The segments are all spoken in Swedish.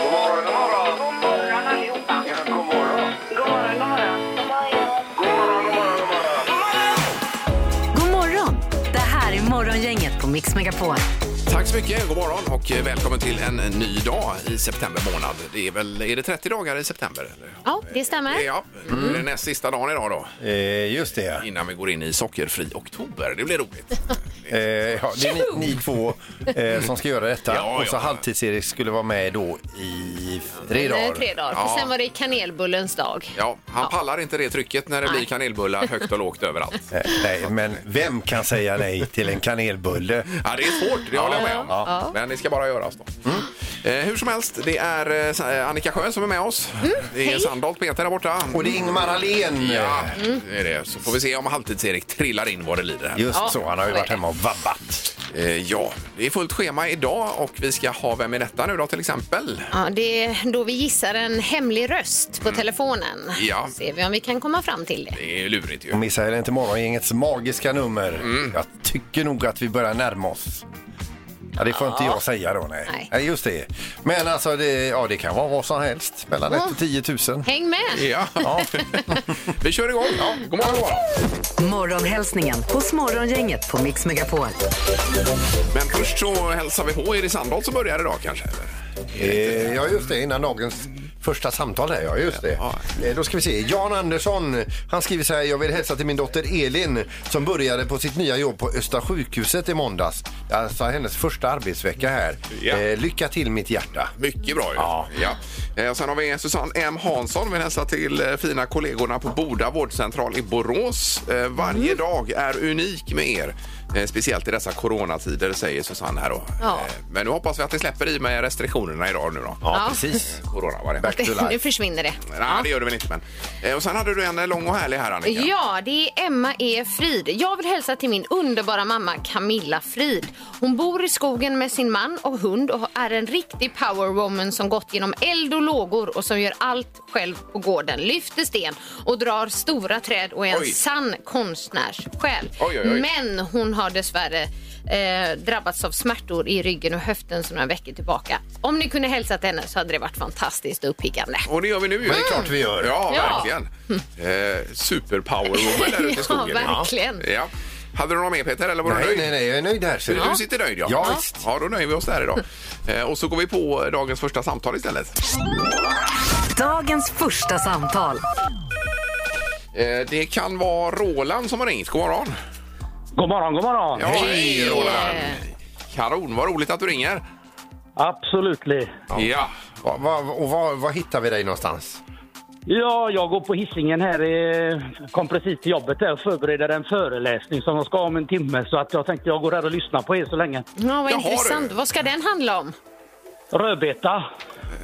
God morgon, god morgon. God morgon allihopa. Ja, god morgon. God morgon, god morgon. God morgon, god God morgon, god morgon. morgon! Det här är Morgongänget på Mix Megapol. Tack så mycket, god morgon och eh, välkommen till en ny dag i september månad. Det är väl, är det 30 dagar i september? Eller? Ja, det stämmer. Ja, det är Mm. näst sista dagen idag då, Eh, just det. innan vi går in i sockerfri oktober. Det blir roligt. Eh, ja, det är ni, ni två eh, som ska göra detta. Ja, och så ja. halvtids-Erik skulle vara med då i tre Nej, dagar. Tre dagar. Ja. Och sen var det kanelbullens dag. Ja, han pallar inte det trycket när det blir kanelbullar högt och lågt överallt. Eh, nej, men vem kan säga nej till en kanelbulle? Ja, det är svårt, det håller jag med om. Ja. Mm. Men det ska bara göras då. Eh, hur som helst, det är eh, Sa- eh, Annika Sjö som är med oss. Mm. det är Sandholt Peter där borta. Och det är Ingmar Ahlén. Ja, Mm. det är det. Så får vi se om halvtids-Erik trillar in vad det lider. här. Just Ja, så, han har ju så är varit det. hemma och vabbat. Eh, ja, det är fullt schema idag och vi ska ha Vem är detta nu då till exempel? Ja, det är då vi gissar en hemlig röst på telefonen. Mm. Ja. Ser vi om vi kan komma fram till det. Det är ju lurigt ju. Och missa heller inte morgongängets magiska nummer. Mm. Jag tycker nog att vi börjar närma oss. Ja, det får inte jag säga då, nej. Nej. just det. Men alltså, det, ja, det kan vara vad som helst. Mellan Mm. 1 och 10 000. Häng med! Ja, Ja. vi kör igång. Ja, god morgon, god morgon. Morgonhälsningen hos Morgongänget på Mix Megapol. Men först så hälsar vi på. Är det Sandholt som börjar idag kanske? eller? Eh, ja, just det. Innan dagens första samtal här, ja just det. Eh, Då ska vi se. Jan Andersson, han skriver så här. Jag vill hälsa till min dotter Elin som började på sitt nya jobb på Östra sjukhuset i måndags. Alltså hennes första arbetsvecka här. Ja. Eh, lycka till mitt hjärta. Mycket bra ju. Ja. Eh, Sen har vi Susanne M Hansson. Vi hälsar till eh, fina kollegorna på Boda vårdcentral i Borås. Eh, Varje Mm. dag är unik med er. Eh, Speciellt i dessa coronatider, säger Susanne här då. Ja. Eh, Men nu hoppas vi att det släpper i med restriktionerna idag nu då. Ja. precis. Corona var det. Back to Nu life. försvinner det. Nej, det gör det väl inte. Men. Eh, Och sen hade du en eh, lång och härlig här, Annika. Ja, det är Emma E Frid. Jag vill hälsa till min underbara mamma Camilla Frid. Hon bor i skogen med sin man och hund och är en riktig powerwoman som gått genom eld och lågor och som gör allt själv på gården. Lyfter sten och drar stora träd och är en Oj. sann konstnärssjäl. Oj, oj, oj. Men hon har dessvärre Eh, drabbats av smärtor i ryggen och höften som några veckor tillbaka. Om ni kunde hälsa till henne så hade det varit fantastiskt och uppiggande. Och det gör vi nu ju. det är klart vi gör. Ja, Ja. verkligen. Eh, Superpowerwoman där ute i Ja, skogen. verkligen. Ja. Ja. Hade du något mer Peter? Eller var du Nej, nöjd? nej, nej, jag är nöjd här. ser du. Du sitter nöjd ja. Ja, visst. ja, då nöjer vi oss där idag. Eh, och så går vi på dagens första samtal istället. Dagens första samtal. Eh, det kan vara Roland som har ringt. God morgon. God morgon, god morgon. Ja, hej Roland. Karon, vad roligt att du ringer. Absolut. Ja. Va, va, och var, var hittar vi dig någonstans? Ja, jag går på hissingen här. eh, Kom precis till jobbet där och förbereder en föreläsning som jag ska ha om en timme. Så att jag tänkte jag går där och lyssnar på er så länge. Ja, vad Jaha, intressant. du. Vad ska den handla om? Rödbeta.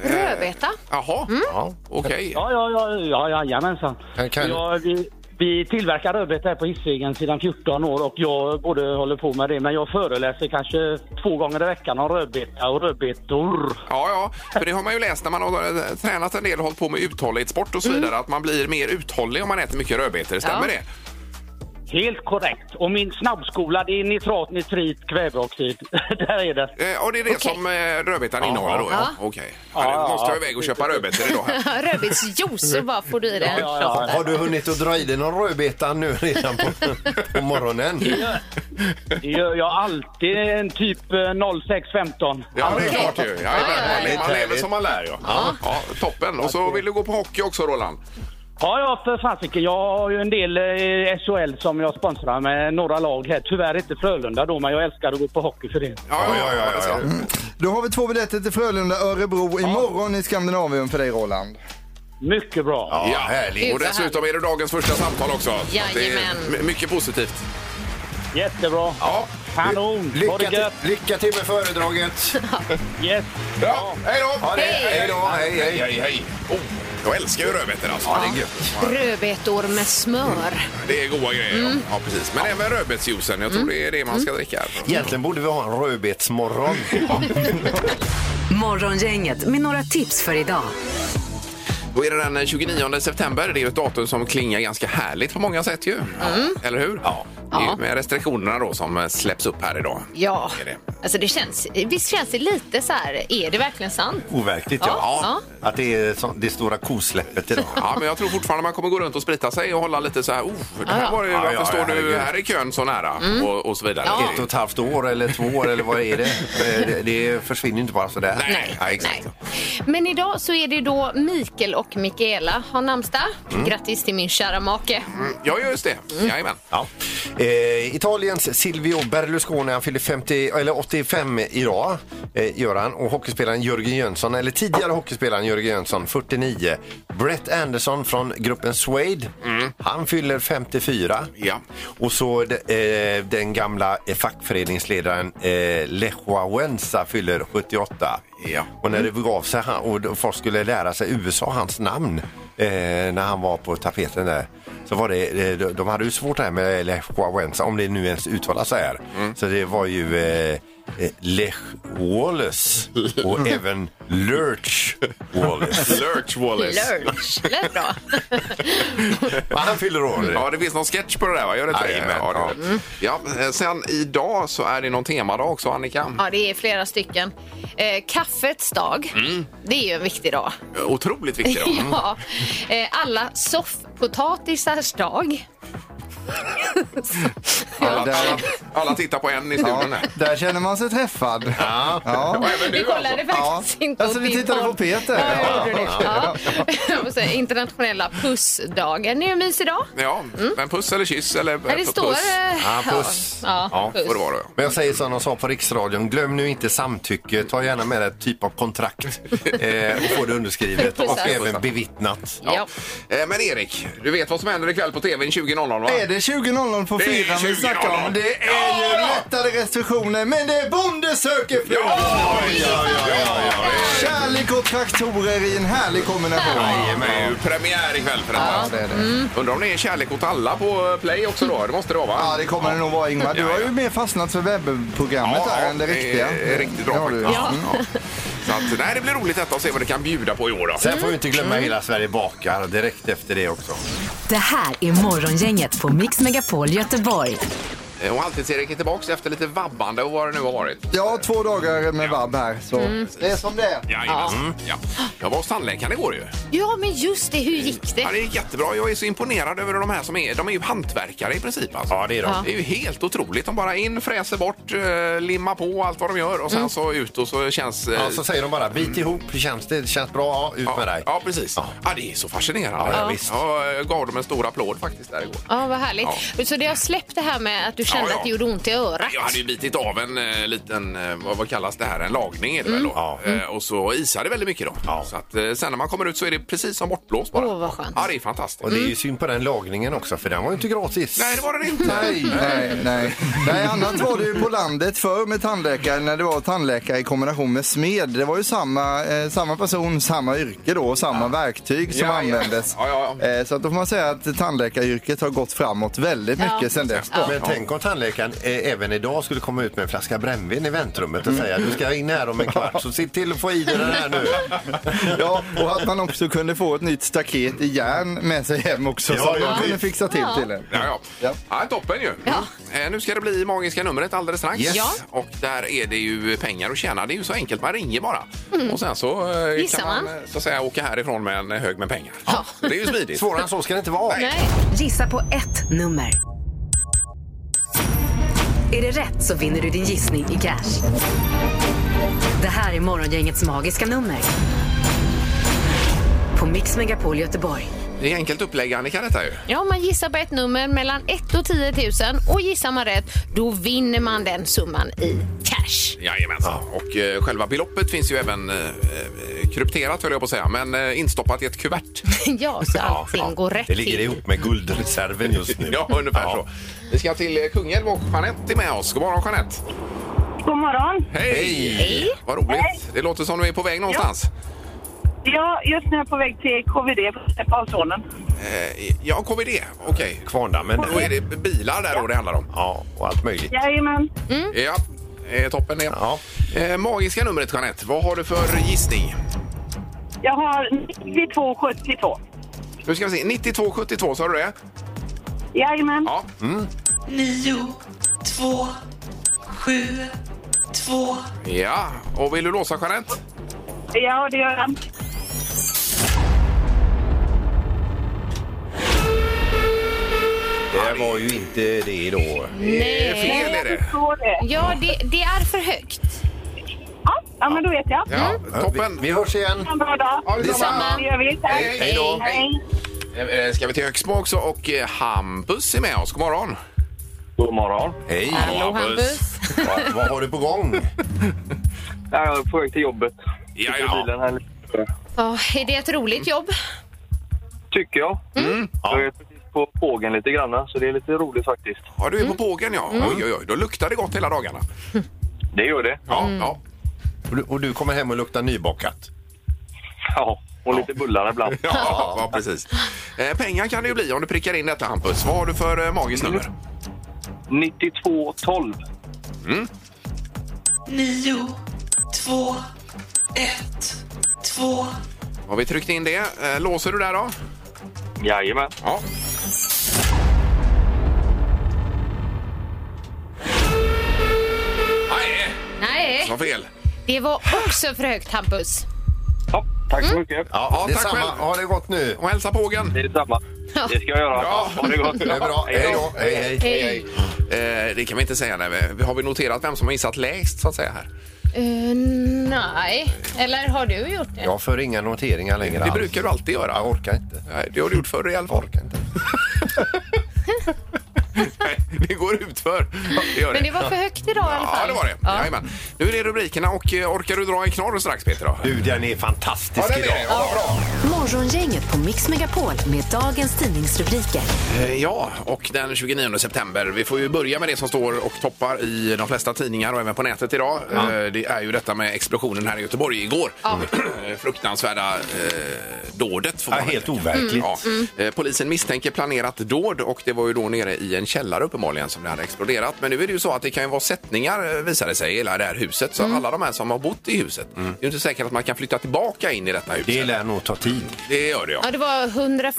Eh, Rödbeta? Jaha, Mm. Ja. okej. Ja, ja, ja, ja jajamensan. Kan- kan- Ja, vi, vi tillverkar rödbeta här på hissingen sedan 14 år och jag både håller på med det men jag föreläser kanske två gånger i veckan om rödbeta och rödbetor. Ja, ja, för det har man ju läst när man har eh, tränat en del och hållit på med uthållighetssport och så vidare att man blir mer uthållig om man äter mycket rödbetor. Stämmer Mm. Ja. det? Helt korrekt. Och min snabbskola det är nitrat, nitrit, kväveoxid. där är det. Eh, och det är det Okej. som eh, rödbetan innehåller då? Ja. Okej. Ja, Ja, nu måste jag ja. iväg och köpa rödbetor idag. här. Rödbetsjuice bara får du i dig. Ja, ja, Har du hunnit att dra i dig någon rödbeta nu redan på, på morgonen? Det gör jag alltid en typ eh, 0615. Ja, det är klart ju. Ja, ja, Man lever Härligt. som man lär. Ja. Ja. toppen. Och så vill du gå på hockey också, Roland. Ja, ja, för fasiken. Jag har ju en del eh, SHL som jag sponsrar med några lag här. Tyvärr inte Frölunda då, men jag älskar att gå på hockey för det. Ja, ja, ja. ja, Då har vi två biljetter till Frölunda Örebro imorgon i Skandinavien för dig Roland. Mycket bra. Ja, Ja. härligt. Och dessutom är det dagens första samtal också. Så att Det är Jajamän. my- mycket positivt. Jättebra. Ja. Kanon. Ha Lycka det till, gött. lycka till med föredraget. Yes. ja. Hej då! Ja, det- Hej då! Hej, Hej, hej! hej, hej. Oh, jag älskar ju rödbetor alltså. Ja, det, är gött. Rödbetor med smör. det är goda grejer. ja. Ja, precis. Men även rödbetsjuicen. Jag tror Mm. det är det man ska dricka. Egentligen borde vi ha en rödbetsmorgon. Morgongänget med några tips för idag. Då är det Mm. den 29 september. Det är ju ett datum som klingar ganska härligt på många sätt ju. Eller hur? Ja. Det är ju med restriktionerna då som eh, släpps upp här idag. Ja, Är Mm, det? alltså det känns, visst känns det lite så här, är det verkligen sant? Oh, Overkligt, ja. Ja. Att det är så, det stora kosläppet idag. Ja, men jag tror fortfarande man kommer gå runt och sprita sig och hålla lite så här, oh, det här var ju, Ja, varför ja, står du herregud. Mm. här i kön så nära? Och, och så vidare. Ja. Ett och ett halvt år eller två år eller vad är det? Eh, Det, det försvinner ju inte bara sådär. Nej, ja, exakt. Men idag så är det då Mikael och Mikaela har namnsdag. Grattis till min kära make. Mm, Ja, just det. Jajamän. Ja. Eh, Italiens Silvio Berlusconi, han fyller 50, eller 85 idag, eh, gör han. Och hockeyspelaren Jörgen Jönsson, eller tidigare hockeyspelaren Jörgen Jönsson, 49. Brett Anderson från gruppen Suede, han fyller 54. Mm. Ja. Och så de, eh, den gamla eh, fackföreningsledaren eh, Lech Wałęsa fyller 78. Ja. Och när det begav sig han, och då folk skulle lära sig USA, hans namn, eh, när han var på tapeten där. Så var det, eh, de- de hade ju svårt det här med Lech Wałęsa, om det nu ens uttalas så här. Mm. Så det var ju eh, eh, Lech Wallace och även Lurch Wallace. Lurch Wallace. Lurch, lät bra. Men han fyller år. Ja, det finns någon sketch på det där, va? Gör det inte det? Jajamän. Ja, det- ja, eh, sen idag så är det någon temadag också, Annika. Ja, det är flera stycken. Eh, kaffets dag, Mm. det är ju en viktig dag. Otroligt viktig dag. Ja. Eh, alla soffpotatisars dag. Alla, där- alla, alla tittar på en i studion här. Där känner man sig träffad. Ja. Ja, även Vi du alltså. kollade faktiskt Ja. inte Alltså, åt vi din tittade podd. på Peter. Ja, jag gjorde det. Ja. Och så Internationella pussdagen. Det är ju en mysig dag. Ja, Mm. men puss eller kyss eller Nej, det puss. står... eh, Ja, puss. Ja, Ja, puss. Får det vara då? Men jag säger som de sa på Riksradion, glöm nu inte samtycke. Ta gärna med dig ett typ av kontrakt eh, och få det underskrivet och Pussar. även bevittnat. Ja. Eh, Men Erik, du vet vad som händer ikväll på tvn 20.00 va? Är det 20.00 på Det är fyran vi snackar 20.00. om? Det är ju Ja! lättare restriktioner, men det är Bonde söker fru! Kärlek och traktorer i en härlig kombination. Ja, Det är ju premiär ikväll för detta. Ja, det är det. Undrar om det är kärlek åt alla på eh, Play också då? Det måste det vara va? Ja, det kommer det nog vara Ingmar. Du Ja, ja. har ju mer fastnat för webbprogrammet Ja, där än det är- riktiga. är riktigt bra Det har du. faktiskt. Mm, Ja. Så att, nej, det blir roligt detta och se vad det kan bjuda på i år då. Sen får vi inte glömma Hela Sverige bakar direkt efter det också. Det här är Morgongänget på Mix Megapol Göteborg. Eh, Och Halvtids-Erik är tillbaks efter lite vabbande och vad det nu har varit. Ja, två dagar med vab här. Så det är som det är. Jajamensan. Ja. Jag var hos tandläkaren igår ju. ja, men just det. Hur gick Ja, det? det gick jättebra. Jag är så imponerad över de här som är. De är ju hantverkare i princip. Alltså. Ja, det är de. Det är ju helt otroligt. De bara in, fräser bort, eh, limmar på allt vad de gör och sen så ut och så känns... eh, Mm. Ja, så säger de bara bit ihop, känns det känns bra, ja, ut med ja, dig. ja, precis. Ja. det är så fascinerande. Ja, ja, visst. jag gav dem en stor applåd faktiskt där igår. Ja, vad härligt. Så det har släppt det här med att du kände Ja, ja. att det gjorde ont i örat. Jag hade ju bitit av en eh, liten, eh, vad, vad kallas det här, en lagning är det väl då? Mm. Ja. Eh, och så isade det väldigt mycket då. Ja. Så att, eh, sen när man kommer ut så är det precis som bortblåst bara. Åh, vad skönt. Ja, det är fantastiskt. Och det är ju synd på den lagningen också, för den var ju inte gratis. Mm. Nej, det var det inte. Nej, nej, nej. nej. Annat var det ju på landet förr med tandläkare när det var tandläkare i kombination med smed. Det var ju samma, eh, samma person, samma yrke då och samma verktyg som Ja, ja. användes. Ja, ja. Eh, så att då får man säga att tandläkaryrket har gått framåt väldigt mycket sedan dess. Då. Men tänk om tandläkaren eh, även idag skulle komma ut med en flaska brännvin i väntrummet och säga du ska in här om en kvart så se till att få i dig den här nu. Ja, och att man också kunde få ett nytt staket i järn med sig hem också. Ja, så att ja, man kunde visst. fixa till till en. Ja, ja. Ja. Ja. toppen ju. Eh, Nu ska det bli magiska numret alldeles strax. Yes. Ja. Och där är det ju pengar att tjäna. Det är ju så enkelt, man ringer bara. Och sen så eh, Gissar kan man, man. eh, så att säga, åka härifrån med en hög med pengar. Så Det är ju smidigt. Svårare än så ska det inte vara. Nej. Gissa på ett nummer. Är det rätt så vinner du din gissning i cash. Det här är Morgongängets magiska nummer. På Mix Megapol Göteborg. Det är enkelt upplägg Annika detta ju. Ja, man gissar på ett nummer mellan 1 och 10 000 och gissar man rätt, då vinner man den summan i cash. Jajamensan. Och eh, själva beloppet finns ju även eh, eh, krypterat höll jag på att säga, men eh, instoppat i ett kuvert. Ja, så allting går rätt Det ligger till. ihop med guldreserven just nu. ja, ungefär Ja. så. Vi ska till eh, Kungälv och Jeanette är med oss. God morgon Jeanette! God morgon. Hej! Vad roligt. Det låter som du är på väg någonstans. Ja, just nu är jag på väg till KVD på Släppahavsånen. Eh, Ja, KVD. Okej. Kvarndammen. Då är det bilar där då det handlar om. Ja, och allt möjligt. Jajamän. Ja, eh, toppen det. Ja. Eh, Magiska numret Jeanette, vad har du för gissning? Jag har 9272. Nu ska vi se, 9272 sa du det? Jajamän. Ja. Mm. nio, två, sju, två. Ja, och vill du låsa Jeanette? Ja, det gör han. Det var ju inte det då. Det är fel är Jag det. förstår det. Ja, det, det är för högt. Ja, ja men då vet jag. Ha Mm. Ja, toppen. Vi, vi hörs igen. en bra dag. Ja, detsamma. Det gör vi. Tack. Hej, hej då. Hej. Eh, Ska vi till Högsbo också och eh, Hampus är med oss. God morgon. God morgon. Hej. Hallå, Hampus. Vad, vad har du på gång? Ja, jag är på väg till jobbet. Ja, Sitter i bilen ja. här lite. Ja, är det ett roligt jobb? Tycker jag. Jag är precis på pågen lite grann, så det är lite roligt faktiskt. ja du är på bågen ja. Oj, oj, oj. Då luktar det gott hela dagarna. Det gör det. Ja, ja. Och du, och du kommer hem och luktar nybakat. Ja, och lite bullar ibland. Ja, ja, precis. Eh, pengar kan det ju bli om du prickar in detta, Hampus. Vad har du för eh, magiskt nummer? 92 12. Nio, två, ett, två. Har vi tryckt in det? Eh, Låser du där då? Jajamän. Ja. Nej, Nej, det var fel. det var också för högt, Hampus. Ja, tack så mycket. Ja, det tack samma. själv. Har det gått nu? Och hälsa på Hågen. Det är detsamma. Det ska jag göra. Ja. Ha det gott. Det är bra. Hej då. Hej, hej. Hej. Eh, det kan vi inte säga. Nej. Vi- Har vi noterat vem som har gissat lägst så att säga här? Eh, nej, eller har du gjort det? Jag för inga noteringar längre. Det alls. brukar du alltid göra. Jag orkar inte. Nej, det har du gjort förr i alla Jag fall. orkar inte. Nej, det går ut för. Ja, det gör Men det var för högt idag i alla fall. Ja, det var det. Ja. Jajamän. Nu är det rubrikerna och eh, orkar du dra i knorr strax Peter? Då? Du, den är fantastisk Ja, den är idag. det. Ja, bra. Morgongänget på Mix Megapol med dagens tidningsrubriker. Eh, Ja, och den 29 september. Vi får ju börja med det som står och toppar i de flesta tidningar och även på nätet idag. Eh, Det är ju detta med explosionen här i Göteborg igår. Eh, Fruktansvärda eh, dådet. Får Ja, man väl helt säga. overkligt. Mm, Ja. Eh, Polisen misstänker planerat dåd och det var ju då nere i en källare uppenbarligen som det hade exploderat. Men nu är det ju så att det kan ju vara sättningar eh, visar det sig i hela det här huset. Mm. Så alla de här som har bott i huset, det är ju inte säkert att man kan flytta tillbaka in i detta hus. Det lär nog ta tid. Det gör det ja. Ja, det var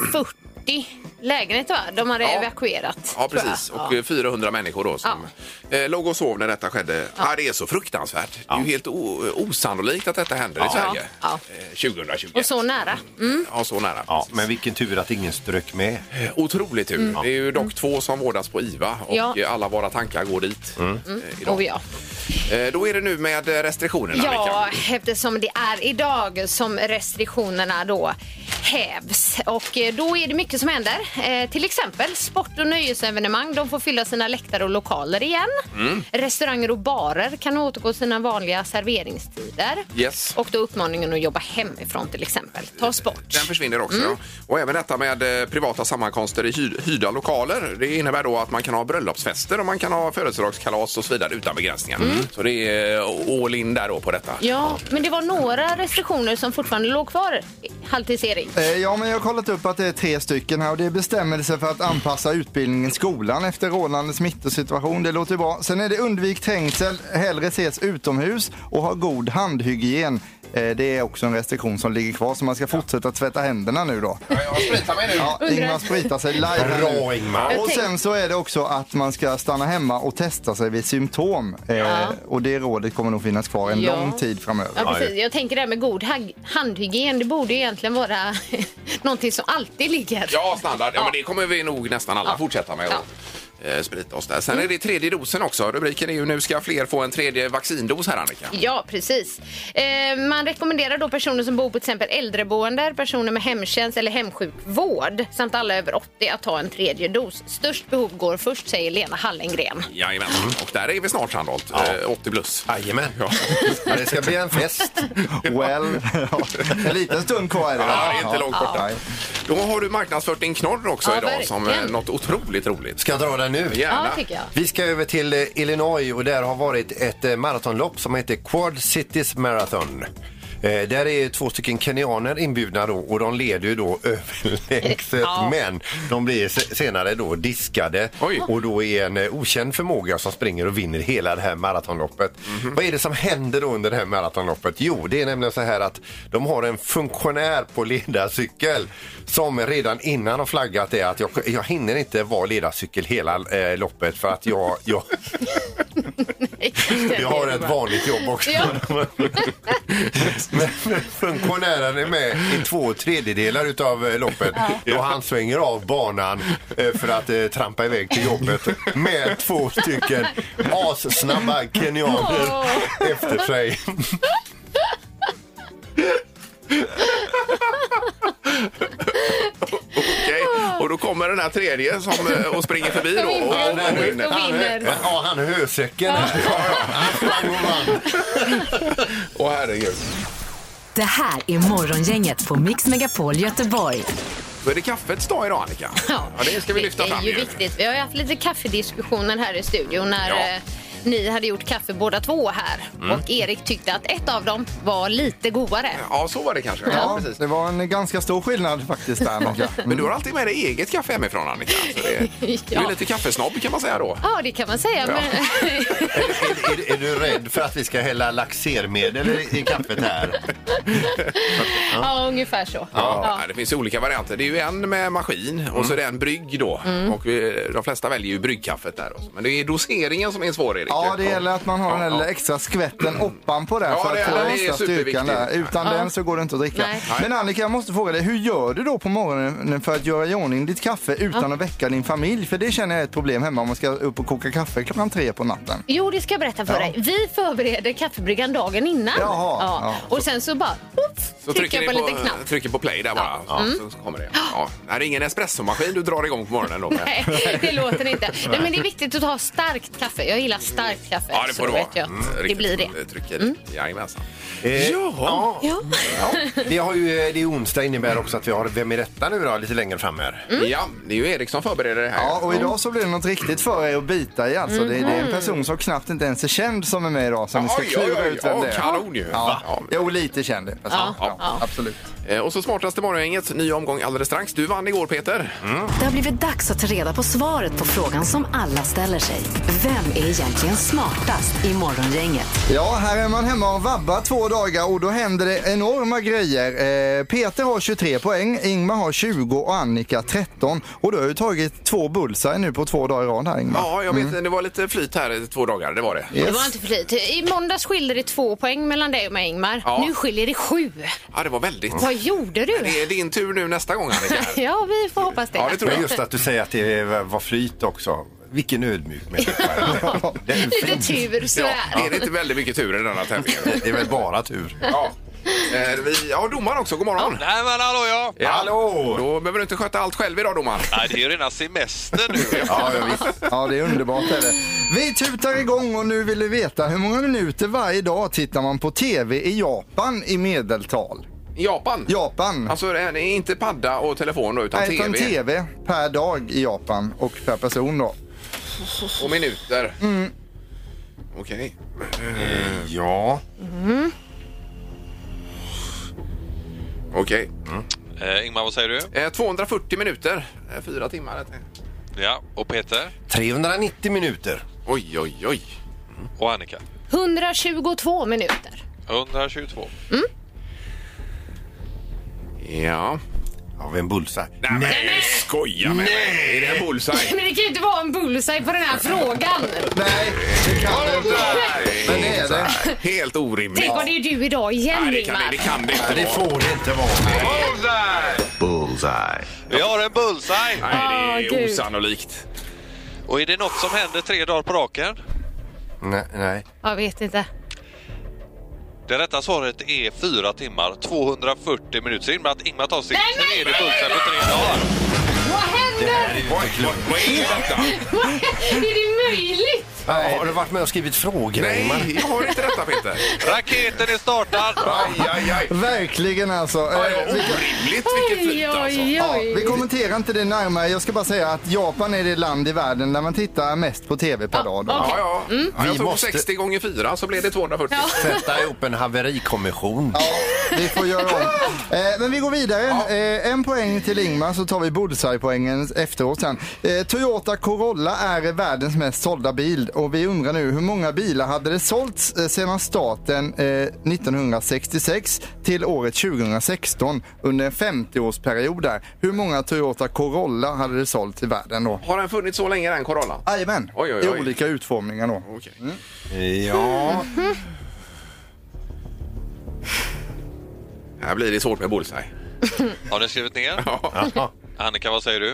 140 lägenheter va? de hade Ja. evakuerat. Ja, tror jag. precis. Ja. Och eh, 400 människor då som eh, låg och sov när detta skedde. Ja. det är så fruktansvärt. Det är ju helt o- osannolikt att detta händer i Sverige Ja. eh, 2020. Och så nära. Mm. Ja, så nära. Ja, men vilken tur att ingen strök med. Eh, Otroligt tur. Det är ju dock två som vårdas på IVA Mm. och Ja. eh, alla våra tankar går dit. eh, idag. Oh, ja. Eh, Då är det nu med eh, restriktionerna. ja, Annika. eftersom det är idag som restriktionerna då hävs. Och eh, då är det mycket som händer. Eh, till exempel sport och nöjesevenemang. De får fylla sina läktare och lokaler igen. Restauranger och barer kan återgå till sina vanliga serveringstider. Yes. Och då uppmaningen att jobba hemifrån till exempel tas bort. Den försvinner också. Mm. Ja. Och även detta med eh, privata sammankomster i hy- hyrda lokaler. Det innebär då att man kan ha bröllopsfester och man kan ha födelsedagskalas och så vidare utan begränsningar. Så det är eh, all in där då på detta. Mm. Ja, men det var några restriktioner som fortfarande låg kvar. Halvtids-Erik. Eh, Ja, men jag har kollat upp att det är tre stycken här och det är bestämmelser för att anpassa utbildningen i skolan efter rådande smittosituation. Det låter ju bra. Sen är det undvik trängsel, hellre ses utomhus och ha god handhygien. Eh, Det är också en restriktion som ligger kvar så man ska fortsätta tvätta händerna nu då. Jag spritar mig nu. Ja, Ingmar spritar sig live här nu. Bra, Ingmar. Och sen så är det också att man ska stanna hemma och testa sig vid symptom. Eh, och det rådet kommer nog finnas kvar en Ja. lång tid framöver. Ja, precis. Jag tänker det här med god hag- handhygien. Det borde ju egentligen vara någonting som alltid ligger. Ja, standard. Ja, men det kommer vi nog nästan alla fortsätta med. att eh, Sprita oss där. Sen Mm. är det tredje dosen också. Rubriken är ju nu ska fler få en tredje vaccindos här Annika. Ja, precis. Eh, man rekommenderar då personer som bor på till exempel äldreboende, personer med hemtjänst eller hemsjukvård samt alla över 80 att ta en tredje dos. Störst behov går först, säger Lena Hallengren. Jajamän. Mm. Och där är vi snart Sandholt. Eh, 80 plus. Jajamän. Ja. Ja, det ska bli en fest. Well, ja. en liten stund kvar är det. Ja, det är inte Ja. långt borta. Nej. Då har du marknadsfört din knorr också Ja, idag som eh, verkligen. något otroligt roligt. Ska jag dra den nu? Ja, Gärna. tycker jag. Vi ska över till eh, Illinois och där har varit ett eh, maratonlopp som heter Quad Cities Marathon. Eh, där är två stycken kenyaner inbjudna då och de leder ju då överlägset Ja. men de blir se- senare då diskade Oj. och då är en eh, okänd förmåga som springer och vinner hela det här maratonloppet. Vad är det som händer då under det här maratonloppet? Jo, det är nämligen så här att de har en funktionär på ledarcykel som redan innan har flaggat det att jag, jag hinner inte vara ledarcykel hela eh, loppet för att jag, jag, jag har ett vanligt jobb också. Ja. Men men funktionären är med i två tredjedelar utav eh, loppet då han svänger av banan eh, för att eh, trampa iväg till jobbet med två stycken assnabba kenyaner Åh. efter sig. Okej, och då kommer den här tredje som, eh, och springer förbi då. Och, Ja, och, och vinner. Och vinner. Ja, han är hösäcken. här. Ja, ja. Han sprang och vann. Åh herregud. Det här är Morgongänget på Mix Megapol Göteborg. Då är det kaffets dag idag Annika. Ja, det ska vi lyfta fram Det är ju viktigt. Vi har ju haft lite kaffediskussioner här i studion när Ja. Mm. eh, ni hade gjort kaffe båda två här. Och Erik tyckte att ett av dem var lite godare. Ja, så var det kanske. Ja, precis. det var en ganska stor skillnad faktiskt där Annika. Men du har alltid med dig eget kaffe hemifrån Annika. Så det, Du är Ja. lite kaffesnobb kan man säga då. Ja, det kan man säga. Ja. Men... Är, är, är du rädd för att vi ska hälla laxermedel i, i kaffet här? ja, ungefär så. Ja. Det finns ju olika varianter. Det är ju en med maskin Mm. och så är det en brygg då. Och vi, de flesta väljer ju bryggkaffet där. Också. Men det är doseringen som är svår Erik. Ja, det gäller att man har den där extra skvätten oppan på den Ja, för det- att få det den är extra styrkan där. superviktigt. Utan den så går det inte att dricka. Nej. Nej. Men Annika, jag måste fråga dig, hur gör du då på morgonen för att göra i ordning ditt kaffe utan att väcka din familj? För det känner jag är ett problem hemma om man ska upp och koka kaffe klockan tre på natten. Jo, det ska jag berätta för Ja. dig. Vi förbereder kaffebryggan dagen innan. Jaha, Ja. ja. Och sen så bara oops, Så trycker jag på en ni liten knapp. trycker på play där bara. Ja. Så, så kommer det. Ja. Det här är ingen espressomaskin du drar igång på morgonen då. med. Nej, det låter inte. Nej, men det är viktigt att ha starkt kaffe. Jag gillar starkt kaffe. Ja, det får så det då vara. vet jag att Mm, Det riktigt. blir det. Mm. Trycker. Jajamensan. Eh, Jaha. Ja. Ja. Vi har ju, eh, det är onsdag innebär också att vi har Vem är detta nu då lite längre fram här. Mm. Ja, det är ju Erik som förbereder det här. Ja, och idag så blir det något riktigt för er att bita i alltså. Det, det är en person som knappt inte ens är känd som är med idag som vi ska Oj, oj, klura oj. ut vem Mhm. Ja, det är. kanon ju. Ja. Va? Jo, lite känd är personen. Ja, ja. Absolut. Eh, Och så smartaste morgongänget, ny omgång alldeles strax. Du vann igår Peter. Mm. Det har blivit dags att ta reda på svaret på frågan som alla ställer sig. Vem är egentligen smartast i Morgongänget? Ja, här är man hemma och vabbar två dagar och då händer det enorma grejer. Eh, Peter har 23 poäng, Ingmar har 20 och Annika 13. Och du har ju tagit två bullseye nu på två dagar i rad här Ingmar. Ja, jag vet, Mm. det var lite flyt här i två dagar, det var det. Det var inte för lite. I måndags skiljer det två poäng mellan dig och mig, Ingmar. Ja. Nu skiljer det sju. Ja, det var väldigt. Mm. Vad gjorde Det du? är din tur nu nästa gång, Annika. Ja, vi får hoppas det. Ja, det tror Men jag. just att du säger att det var flyt också. Vilken ödmjukhet. Det är Lite fint. tur så Ja, här. är det inte väldigt mycket tur i denna tävlingen? Det är väl bara tur. Ja. Eh, Vi har domaren också, god morgon. Nej men hallå ja! Ja. Hallå! Då behöver du inte sköta allt själv idag, domaren. Nej, det är ju redan semester nu. Ja, ja, visst. Ja, det är underbart. Är det. Vi tutar igång och nu vill vi veta hur många minuter varje dag tittar man på TV i Japan i medeltal? Japan. Japan. Alltså, det är inte padda och telefon då, utan Nej, TV. utan TV per dag i Japan och per person då. Och minuter. Okej. ja. Okej. Eh, Ingmar, vad säger du? Eh, 240 minuter. Eh, Fyra timmar. heter det. Ja, och Peter 390 minuter. Oj, oj, oj. och Annika. 122 minuter. 122. Ja. Av en bullseye. Nej, men skoja med mig! Är det en bullseye? Men det kan ju inte vara en bullseye på den här frågan. Nej, det kan det inte. Men det är det. Helt orimligt. Tänk vad det är du idag Nej, igen, det kan det, det, Ingmar. kan det inte Det vara. får det inte vara. Vi har en bullseye! Nej, det Åh, är Ah, Gud. osannolikt. Och är det något som händer tre dagar på raken? Nej, nej. Jag vet inte. Det rätta svaret är fyra timmar, 240 minuter. Så Det innebär att Ingmar tar sin tredje bullseye på tre dagar. Vad händer? Vad vad är detta? är det möjligt? Nej, har du varit med och skrivit frågor? Ingmar? Nej, jag har inte detta Peter. Raketen är startad! Aj, aj, aj. Verkligen alltså. Ja, Eh, ja, vi- Orimligt vilket Oj, flyt alltså. oj, Ja, vi oj. kommenterar inte det närmare. Jag ska bara säga att Japan är det land i världen där man tittar mest på tv per dag. Då. Ja, ja. Mm. ja jag Vi tog måste- 60 gånger 4 så blev det 240. Sätta ihop en haverikommission. Vi får göra om. Eh, men vi går vidare. Eh, en poäng till Ingmar så tar vi bullseye-poängen efteråt sen. Eh, Toyota Corolla är världens mest sålda bil och vi undrar nu hur många bilar hade det sålts eh, sedan starten eh, 1966 till året 2016 under en 50-årsperiod där. Hur många Toyota Corolla hade det sålts i världen då? Har den funnits så länge den Corolla? Jajamän, Oj, oj, i oj. olika utformningar då. Okej. Ja, Här blir det svårt med bullseye. Har ni skrivit ner? Annika, vad säger du?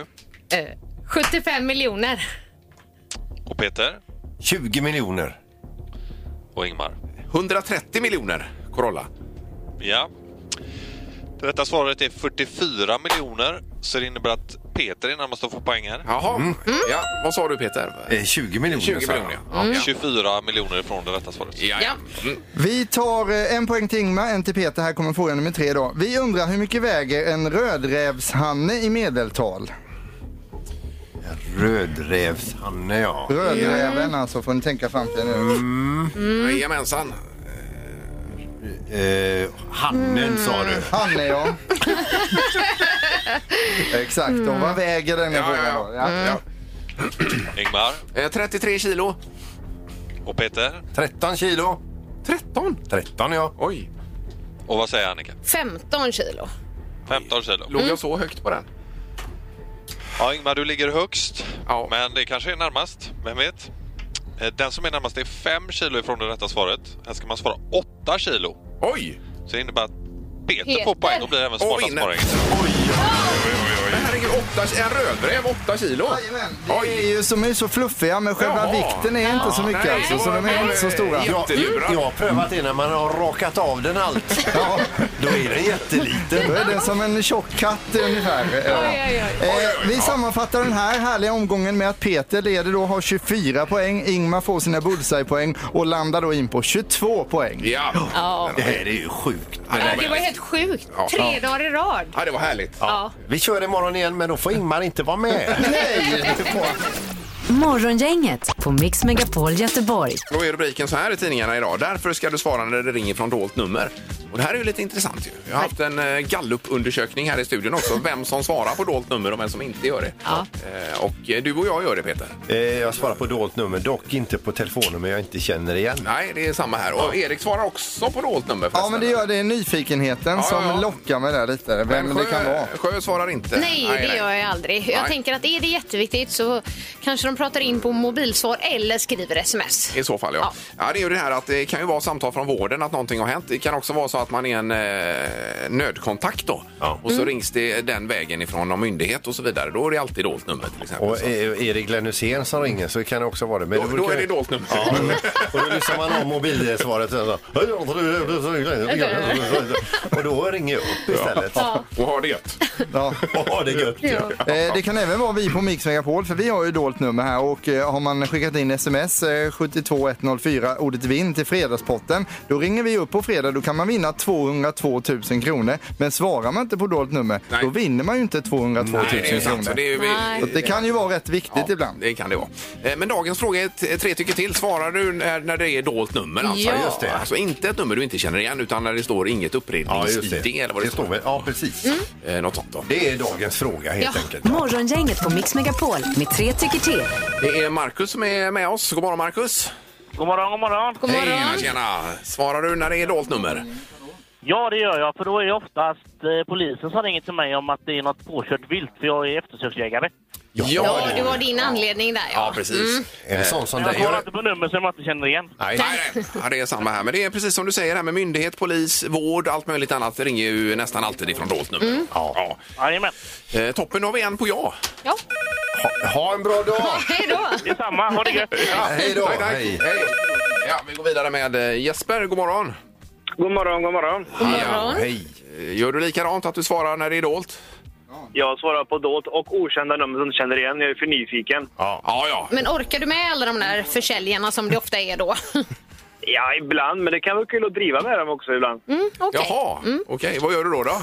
Eh, 75 miljoner. Och Peter? 20 miljoner. Och Ingmar? 130 miljoner Corolla. Ja. Det rätta svaret är 44 miljoner, så det innebär att Peter är närmast att få poäng här. Jaha. Ja, vad sa du Peter? Mm. Eh, 20 miljoner. 20 sa jag. miljoner ja. Ja, 24 miljoner ifrån det rätta svaret. ja. ja. Mm. Vi tar eh, en poäng till Ingmar, en till Peter. Här kommer fråga nummer tre då. Vi undrar hur mycket väger en rödrävshanne i medeltal? Rödrävshanne, ja. Rödräven Mm. alltså, får ni tänka fram till nu. Mm. Jajamensan. Eh, hannen sa du. Hanne ja. Exakt, och vad väger den här Ja, ja, frågan ja. då? Ja. Ingmar Eh, 33 kilo. och Peter. 13 kilo. 13? 13, ja. Oj, Och vad säger Annika? 15 kilo. 15 kilo. Mm. låg jag så högt på den? Ja, Ingmar, du ligger högst, Ja. men det kanske är närmast. Vem vet? Eh, Den som är närmast är 5 kilo ifrån det rätta svaret. Här ska man svara 8 kilo. Oj! Så det innebär att Peter, Peter. får poäng och blir även Och smartast vinner. på Oj, poäng. oj, oj, oj. Men herregud, åtta, en rödräv 8 kilo? Jajamän, Det är Oj! ju, som är så fluffiga men själva Jaha. vikten är inte så mycket Nej, alltså, så de är inte så stora. Ja. Jättelurad. Jag har prövat det när man har rakat av den allt. Ja, Då är den jätteliten. då är det som en tjock katt ungefär. Ja. Oj, oj, oj. Eh, vi sammanfattar den här härliga omgången med att Peter leder då har 24 poäng, Ingmar får sina bullseye-poäng och landar då in på 22 poäng. Ja. Ja. Det här är ju sjukt. Ja, det var helt sjukt. Ja. Tre dagar i rad. ja, det var härligt. Ja. Vi kör imorgon igen, men då får Ingmar inte vara med. Nej! Morgongänget på Mix Megapol Göteborg. Då är rubriken så här i tidningarna idag. Därför ska du svara när det ringer från dolt nummer. Och det här är ju lite intressant ju. Jag har haft en eh, gallupundersökning här i studion också. Vem som svarar på dolt nummer och vem som inte gör det. Ja. Eh, Och eh, du och jag gör det Peter. Eh, Jag svarar på dolt nummer, dock inte på telefonnummer jag inte känner igen. Nej, det är samma här. Och Erik svarar också på dolt nummer Ja men det gör det är nyfikenheten Ja, som ja, ja. lockar mig där lite, vem Men det kan vara. Sjö svarar inte. Nej, det gör jag aldrig. Jag Nej. tänker att är det jätteviktigt så kanske de pratar in på mobilsvar eller skriver sms. I så fall, ja. ja. Det är ju det här att det kan ju vara samtal från vården att någonting har hänt. Det kan också vara så att man är en eh, nödkontakt då. Ja. Och så Mm. rings det den vägen ifrån någon myndighet och så vidare. Då är det alltid dolt nummer till exempel. Och Så- eh, Erik Glenn som ringer så kan det också vara det. Men Då- det då brukar- är det dolt nummer. Ja, och då lyssnar man av mobilsvaret. och så- Och då ringer jag upp istället. Och har det gött. Ja. Åh, det är gött. Ja. Eh, Det kan även vara vi på Mix Megapol för vi har ju dolt nummer här och eh, har man skickat in sms eh, 72104 ordet vinn till fredagspotten då ringer vi upp på fredag då kan man vinna 202 000 kronor men svarar man inte på dolt nummer Nej. då vinner man ju inte 202 000 Nej, det är sant. kronor. Så Det, är ju- Nej. Så det kan ju vara rätt viktigt Ja, ibland. Det kan det vara. Eh, Men dagens fråga är t- tre tycker till. Svarar du när, när det är dolt nummer? Alltså. Ja. Just det. Alltså inte ett nummer du inte känner igen utan när det står inget Ja, upprepnings-ID just det. eller vad det, det står. väl- Ja, precis. Eh, Något sånt då. Det är dagens fråga helt Ja. enkelt. Morgongänget på Mix Megapol med tre tycker till. Det är Markus som är med oss. God morgon Markus! God morgon, god morgon. God Hej, morgon. tjena! Svarar du när det är dolt nummer? Ja, det gör jag. För då är det oftast eh, polisen som ringer till mig om att det är något påkört vilt, för jag är eftersöksjägare. Ja, Ja, du har din anledning där. Ja, Ja. precis. En sån som Jag dig. svarar inte på nummer som jag inte känner igen. Nej, nej. Ja, det är samma här. Men det är precis som du säger här med myndighet, polis, vård, allt möjligt annat Det ringer ju nästan alltid ifrån dolt nummer. Ja. Jajamän. Eh, toppen, då har vi en på ja. Ja. Ha, ha en bra dag! Hej då. Detsamma. Ha det gött. Ja, hej då. Tack, tack. Hej. Hej. Ja, vi går vidare med eh, Jesper. God morgon. God morgon, god morgon. God morgon. Hej! Eh, Gör du likadant, att du svarar när det är dolt? Jag svarar på dolt och okända nummer som du känner igen. Jag är för nyfiken. Ja, ja. ja. Men orkar du med alla de där försäljarna som det ofta är då? Ja, ibland. Men det kan vara kul att driva med dem också ibland. Mm, okej. Jaha, okej. Vad gör du då? då?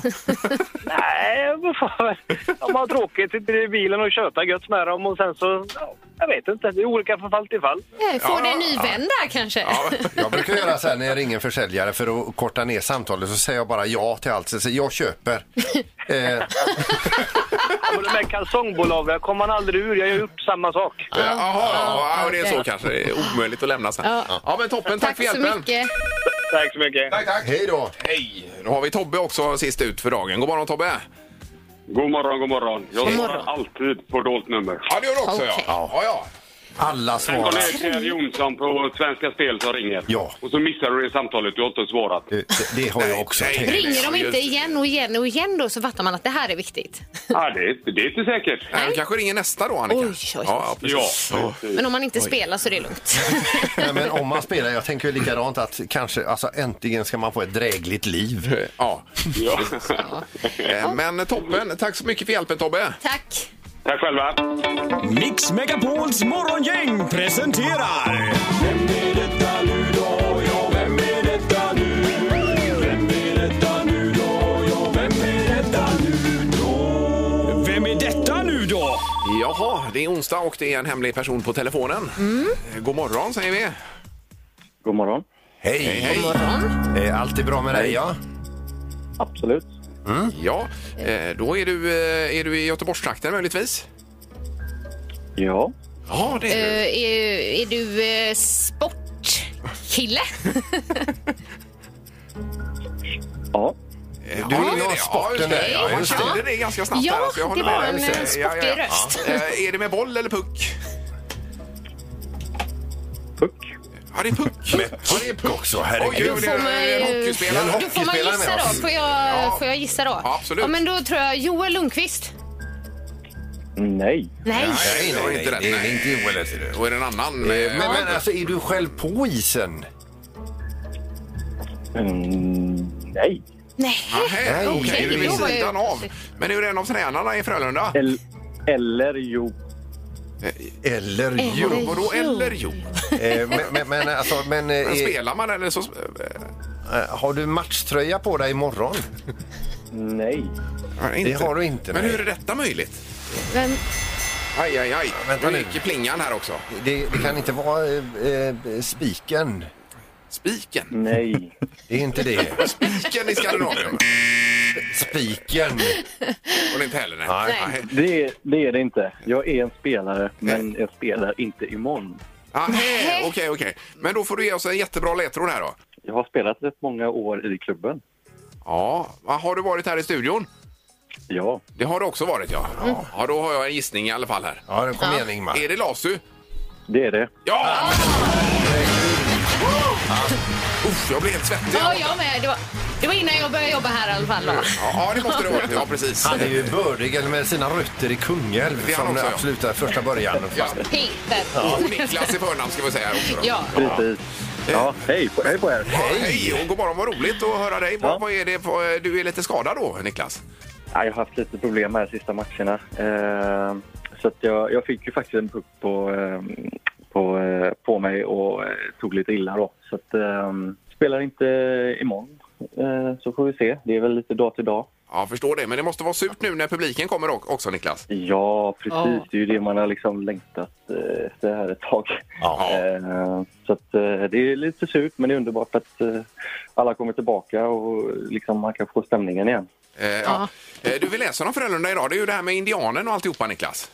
Nej, vad fan. De har tråkigt, sitter i bilen och tjötar gött med dem och sen så... Ja, jag vet inte. Det är olika från fall till fall. Eh, Får du en ny vän där kanske? Ja, Jag brukar göra så här när jag ringer en försäljare för att korta ner samtalet så säger jag bara ja till allt. Så säger jag, jag köper. Eh, Och de här kalsongbolagen kommer man aldrig ur. Jag har gjort samma sak. Jaha, ja, ja, det är okej. så kanske. Det är omöjligt att lämna sen. Ja. Ja, men toppen. Tack, Tack för så hjälpen. mycket. Tack så mycket. Tack, tack. hej då! Hej! Då har vi Tobbe också sist ut för dagen. God morgon Tobbe! God morgon, god morgon. Jag God svarar morgon. alltid på dolt nummer. Ja, det gör du också Okej. ja. ja, ja. Alla Tänk om svarar. det är Pierre Jonsson på Svenska Spel som ringer. Ja. Och så missar du det samtalet, du har inte svarat. Eh, Det, det har jag också Nej, tänkt. nej. Ringer de Ja, just inte det. igen och igen och igen då så fattar man att det här är viktigt. Ja, det, är inte- det är inte säkert. Nej, du kanske ringer nästa då Annika? Oj, oj, oj. Ja, ja, Ja, precis. Men om man inte spelar så är det lugnt. Nej, men om man spelar, jag tänker ju likadant att kanske, alltså äntligen ska man få ett drägligt liv. Ja. ja. Eh, Men toppen. Tack så mycket för hjälpen Tobbe. Tack. Tack själva. Mix Megapols morgongäng presenterar... Vem är detta nu då? Ja, vem är detta nu? Vem är detta nu då? Ja, vem är detta nu då? Vem är detta nu då? Jaha, det är onsdag och det är en hemlig person på telefonen. Eh, God morgon säger vi. God morgon. Hej! Hej. Eh, Allt är bra med dig, ja? Absolut. Ja, eh, då är du, eh, är du i Göteborgstrakten möjligtvis? Ja. Ja, det Eh, är du. är, är du eh, sportkille? Ja. Du Eh, Ja, är inne det är av det. sporten Ja, där. Ja, just det. just Jag det. kände det ganska snabbt. Ja, där, alltså, jag det håller var med. en, Ja, just det. Ja, sportig ja, ja. röst. Eh, Är det med boll eller puck? Puck. Ja, det är puck. Ja, det är puck också. herregud. Oj, oj, Då det är får man ju- en En hockeyspelare. Då får man Hockeyspelare med gissa oss. då. Får jag, får jag gissa då? Ja, absolut. Ja, men då tror jag Joel Lundqvist. Nej. Nej. Nej, det var inte rätt. det är Nej. inte Joel. är det. Då är det en annan. eh, Men, men alltså, är du själv på isen? nej. Nej. Nej, okej, okej, då det är vid var jag sidan av. plötsligt- Men hur är en av tränarna i Frölunda? eller jo. Eller Jo, jo? vadå eller jo? Eh, men, men, men, alltså, men, eh, Men är- spelar man eller så... eh, har du matchtröja på dig imorgon? Nej. Nej, Det har du inte, Men nej. hur är detta möjligt? Vem? Aj, aj, aj. vänta nu nu. gick ju plingan här också. Det, det kan inte vara eh, eh, spiken. Spiken. Nej. Det är inte det. Spiken i Skandinavien. Spiken. Och det är inte heller nej. Nej. Nej. Det är, det är det inte. Jag är en spelare, men jag spelar inte imorgon. Ah, hej, Okej, okej. Men då får du ge oss en jättebra ledtråd här då. Jag har spelat rätt många år i klubben. Ja, ah, har du varit här i studion? Ja. Det har du också varit ja. Ja, Ja, då har jag en gissning i alla fall här. Ja, kom igen Ingmar. Är det Lasu? Det är det. Ja! Ah. Uff, jag blev helt svettig. Ja, jag med. Det var, det var innan jag började jobba här i alla fall. Då. Ja, det måste det vara. Ja, precis. Han är ju bördig med sina rötter i Kungälv Det är han från också, ja. absolut där första början. Ja. Peter. Och Niklas i förnamn ska vi säga här också. då. Ja. Precis. Ja, hej på, hej på er. Ja, Hej och god morgon, vad roligt att höra dig. Vad, vad är det, för- du är lite skadad då, Niklas? Ja, jag har haft lite problem här sista matcherna. Eh, så att jag, jag fick ju faktiskt en puck på, eh, på, eh, på mig och eh, tog lite illa då. Så att, eh, spelar inte imorgon. Eh, så får vi se. Det är väl lite dag till dag. Ja, jag förstår det. Men det måste vara surt nu när publiken kommer o- också, Niklas. Ja, precis. Ja. Det är ju det man har liksom längtat eh, efter här ett tag. Eh, så att, eh, det är lite surt, men det är underbart att eh, alla kommer tillbaka och liksom, man kan få stämningen igen. Eh, ja. Eh, Du vill läsa om Frölunda idag. Det är ju det här med indianen och alltihopa, Niklas.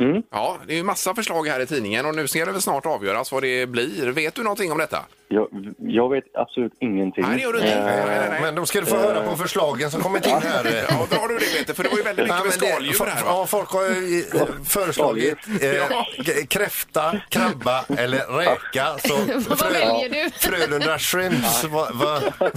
Mm. Ja, det är ju massa förslag här i tidningen och nu ska det väl snart avgöras vad det blir. Vet du någonting om detta? Jag, jag vet absolut ingenting. Nej, det gör du Eh, inte. Nej, nej, nej. Men då ska du få höra på förslagen som kommit in här. eh, Ja, bra du det Peter, för det var ju väldigt mycket med det- skaldjur fo- här va? ja, folk har ju eh, föreslagit eh, Ja. k- kräfta, krabba eller räka. Så Vad väljer du? Frölunda Shrimps. Va, va?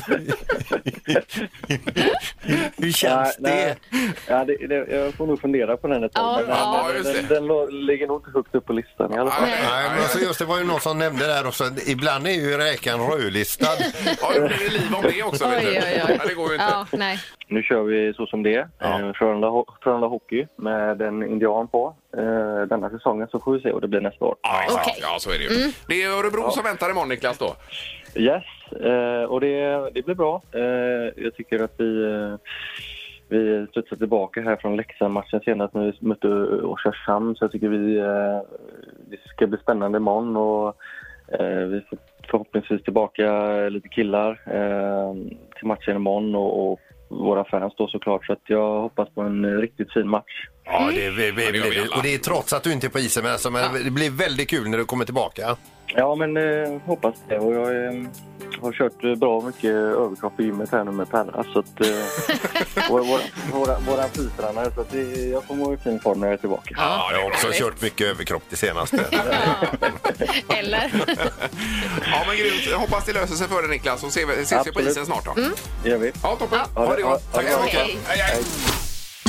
Hur Nej, känns nej. det? Ja, det, det, jag får nog fundera på den ett tag. Ja, men eh, ja, den, just den, det. den lå- ligger nog inte högt upp på listan i alla fall. Nej. Nej, men alltså just det var ju någon som nämnde där också. Ibland är ju räkan rödlistad. alltså- ja, det blir liv om det också. vet du. Oj, oj, oj. Ja, det går ju inte. Ja, nej. Nu kör vi så som det är. Eh, Frölunda, Ho- Frölunda Hockey med en indian på eh, denna säsongen så får vi se vad det blir nästa år. Ja, exakt. Okej. Mm. ja, så är det ju. Det är Örebro som väntar imorgon, Niklas. Då. Yes, eh, och det, det blir bra. Eh, jag tycker att vi, eh, vi studsar tillbaka här från Leksand-matchen senast när vi mötte Oskarshamn. Så jag tycker vi, eh, det ska bli spännande imorgon och eh, vi får förhoppningsvis tillbaka lite killar eh, till matchen imorgon och, och våra fans då såklart. Så att jag hoppas på en eh, riktigt fin match. Ja, det, vi, vi, det gör vi alla. och det är trots att du inte är på isen, men, alltså, men det blir väldigt kul när du kommer tillbaka. Ja, men eh, hoppas det. Och jag eh, har kört eh, bra mycket överkropp i gymmet här nu med Perra. Så att, eh, vår, vår, våra, våra fystränare. Så att det, jag kommer vara i fin form när jag är tillbaka. Ja, jag har också kört mycket överkropp det senaste. Eller? Ja, men grymt. Jag hoppas det löser sig för dig, Niklas. Och se- ses vi på Absolut. isen snart då. Mm. Det gör vi. Ja, toppen. Ja. Ha det gott. Tack så mycket. Hej. Hej, hej.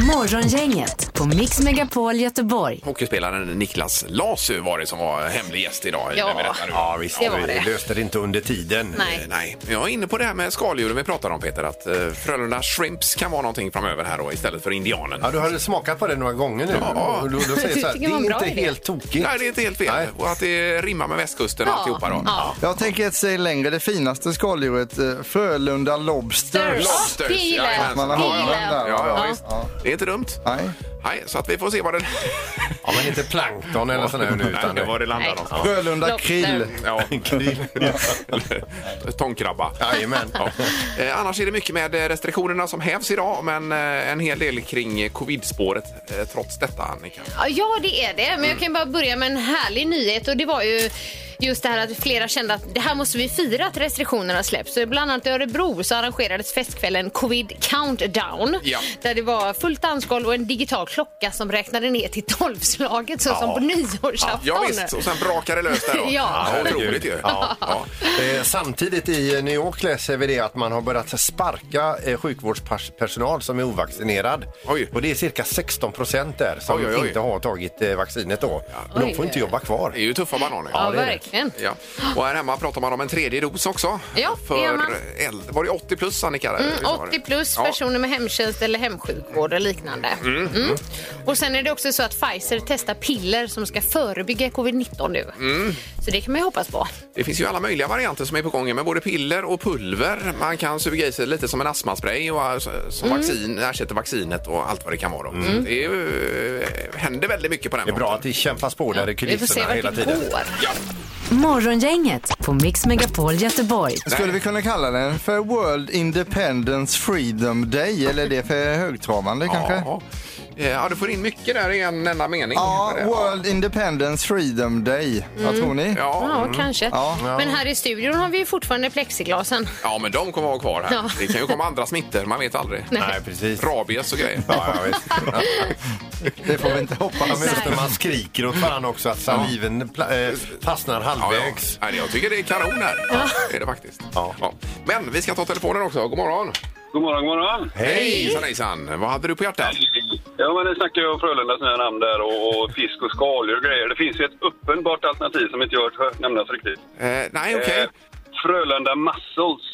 Morgongänget på Mix Megapol Göteborg. Hockeyspelaren Niklas Lasu var det som var hemlig gäst idag. Ja. när vi berättar nu. Ja, visst. Det var vi det. löste det inte under tiden. Nej. Nej, jag är inne på det här med skaldjuren vi pratade om Peter, att eh, Frölunda Shrimps kan vara någonting framöver här då istället för indianen. Ja, du har smakat på det några gånger nu. Ja. Och då, då säger jag så här, Du tycker det det var en är bra inte idé. helt tokigt. Nej, det är inte helt fel. Nej. Och att det rimmar med västkusten och Ja, alltihopa då. ja. Jag tänker ett steg läörre, det finaste skaldjuret, eh, Frölunda Lobsters. Lobsters, Det gillar jag. jajamensan. Det gillar Ja, jag. ja, Ja. visst. Det är inte dumt. Nej. Nej, så att vi får se vad det... Ja, men inte plankton eller sån här nu, utan Nej, var det landar Nej. någonstans. Frölunda Lobster. krill. Ja. Tångkrabba. Jajamän. Ja. Eh, annars är det mycket med restriktionerna som hävs idag, men eh, en hel del kring eh, covid-spåret eh, trots detta, Annika. Ja, Ja, det är det. Men jag kan bara börja med en härlig nyhet. Och det var ju just det här att flera kände att det här måste vi fira att restriktionerna släpps. Så bland annat i Örebro så arrangerades festkvällen Covid Countdown. Ja. Där det var fullt dansgolv och en digital klocka som räknade ner till tolvslaget så som på nyårsafton. Ja, visst, och sen brakar det lös där då. Ja. Otroligt ju. Ja. Ja. Eh, samtidigt i New York läser vi det att man har börjat sparka eh, sjukvårdspersonal som är ovaccinerad. Oj. Och det är cirka 16 procent där som Oj, oj, oj. inte har tagit eh, vaccinet då. Och de Oj. får inte jobba kvar. Det är ju tuffa bananer. Ja, det är det. verkligen. Ja. Och här hemma pratar man om en tredje dos också. Ja, det för gör man. äldre- Var det 80 plus, Annika? Mm, 80 plus Ja. personer med hemtjänst eller hemsjukvård och liknande. Mm. Och sen är det också så att Pfizer testar piller som ska förebygga covid-19 nu. Så det kan man ju hoppas på. Det finns ju alla möjliga varianter som är på gång med både piller och pulver. Man kan suga i sig lite som en astmaspray och alltså, som Mm. vaccin, ersätter vaccinet och allt vad det kan vara. Då. Så Det är, ju- eh, händer väldigt mycket på den Mm. Det är bra att det kämpas på där i Vi får se kulisserna hela vart det tiden. går. Morgongänget på Mix Megapol Göteborg. Skulle vi kunna kalla den för World Independence Freedom Day? Eller är det för högtravande kanske? Ja. Eh, ja, du får in mycket där i en enda mening. Ja, Det- World Independence Freedom Day. Mm. Vad tror ni? Ja. Ja, kanske. Men här i studion har vi ju fortfarande plexiglasen. ja, men de kommer vara kvar här. Ja. Det kan ju komma andra smittor, man vet aldrig. Nej, precis. Rabies och grejer. Ja, ja, visst. Det får vi inte hoppas. Ja, men just när man skriker åt varandra också att saliven pla- eh, fastnar Ja, ja. halvvägs. Nej, jag tycker det är kanon här. Det är det faktiskt. Ja. Men vi ska ta telefonen också. God morgon! God morgon, god morgon. Hej! Hejsan, Vad hade du på hjärtat? Ja, men det snackar ju om Frölundas nya namn där och, och fisk och skaldjur och grejer. Det finns ju ett uppenbart alternativ som inte jag har hört nämnas riktigt. Eh, nej, okej. Eh, Eh, Frölunda Muscles.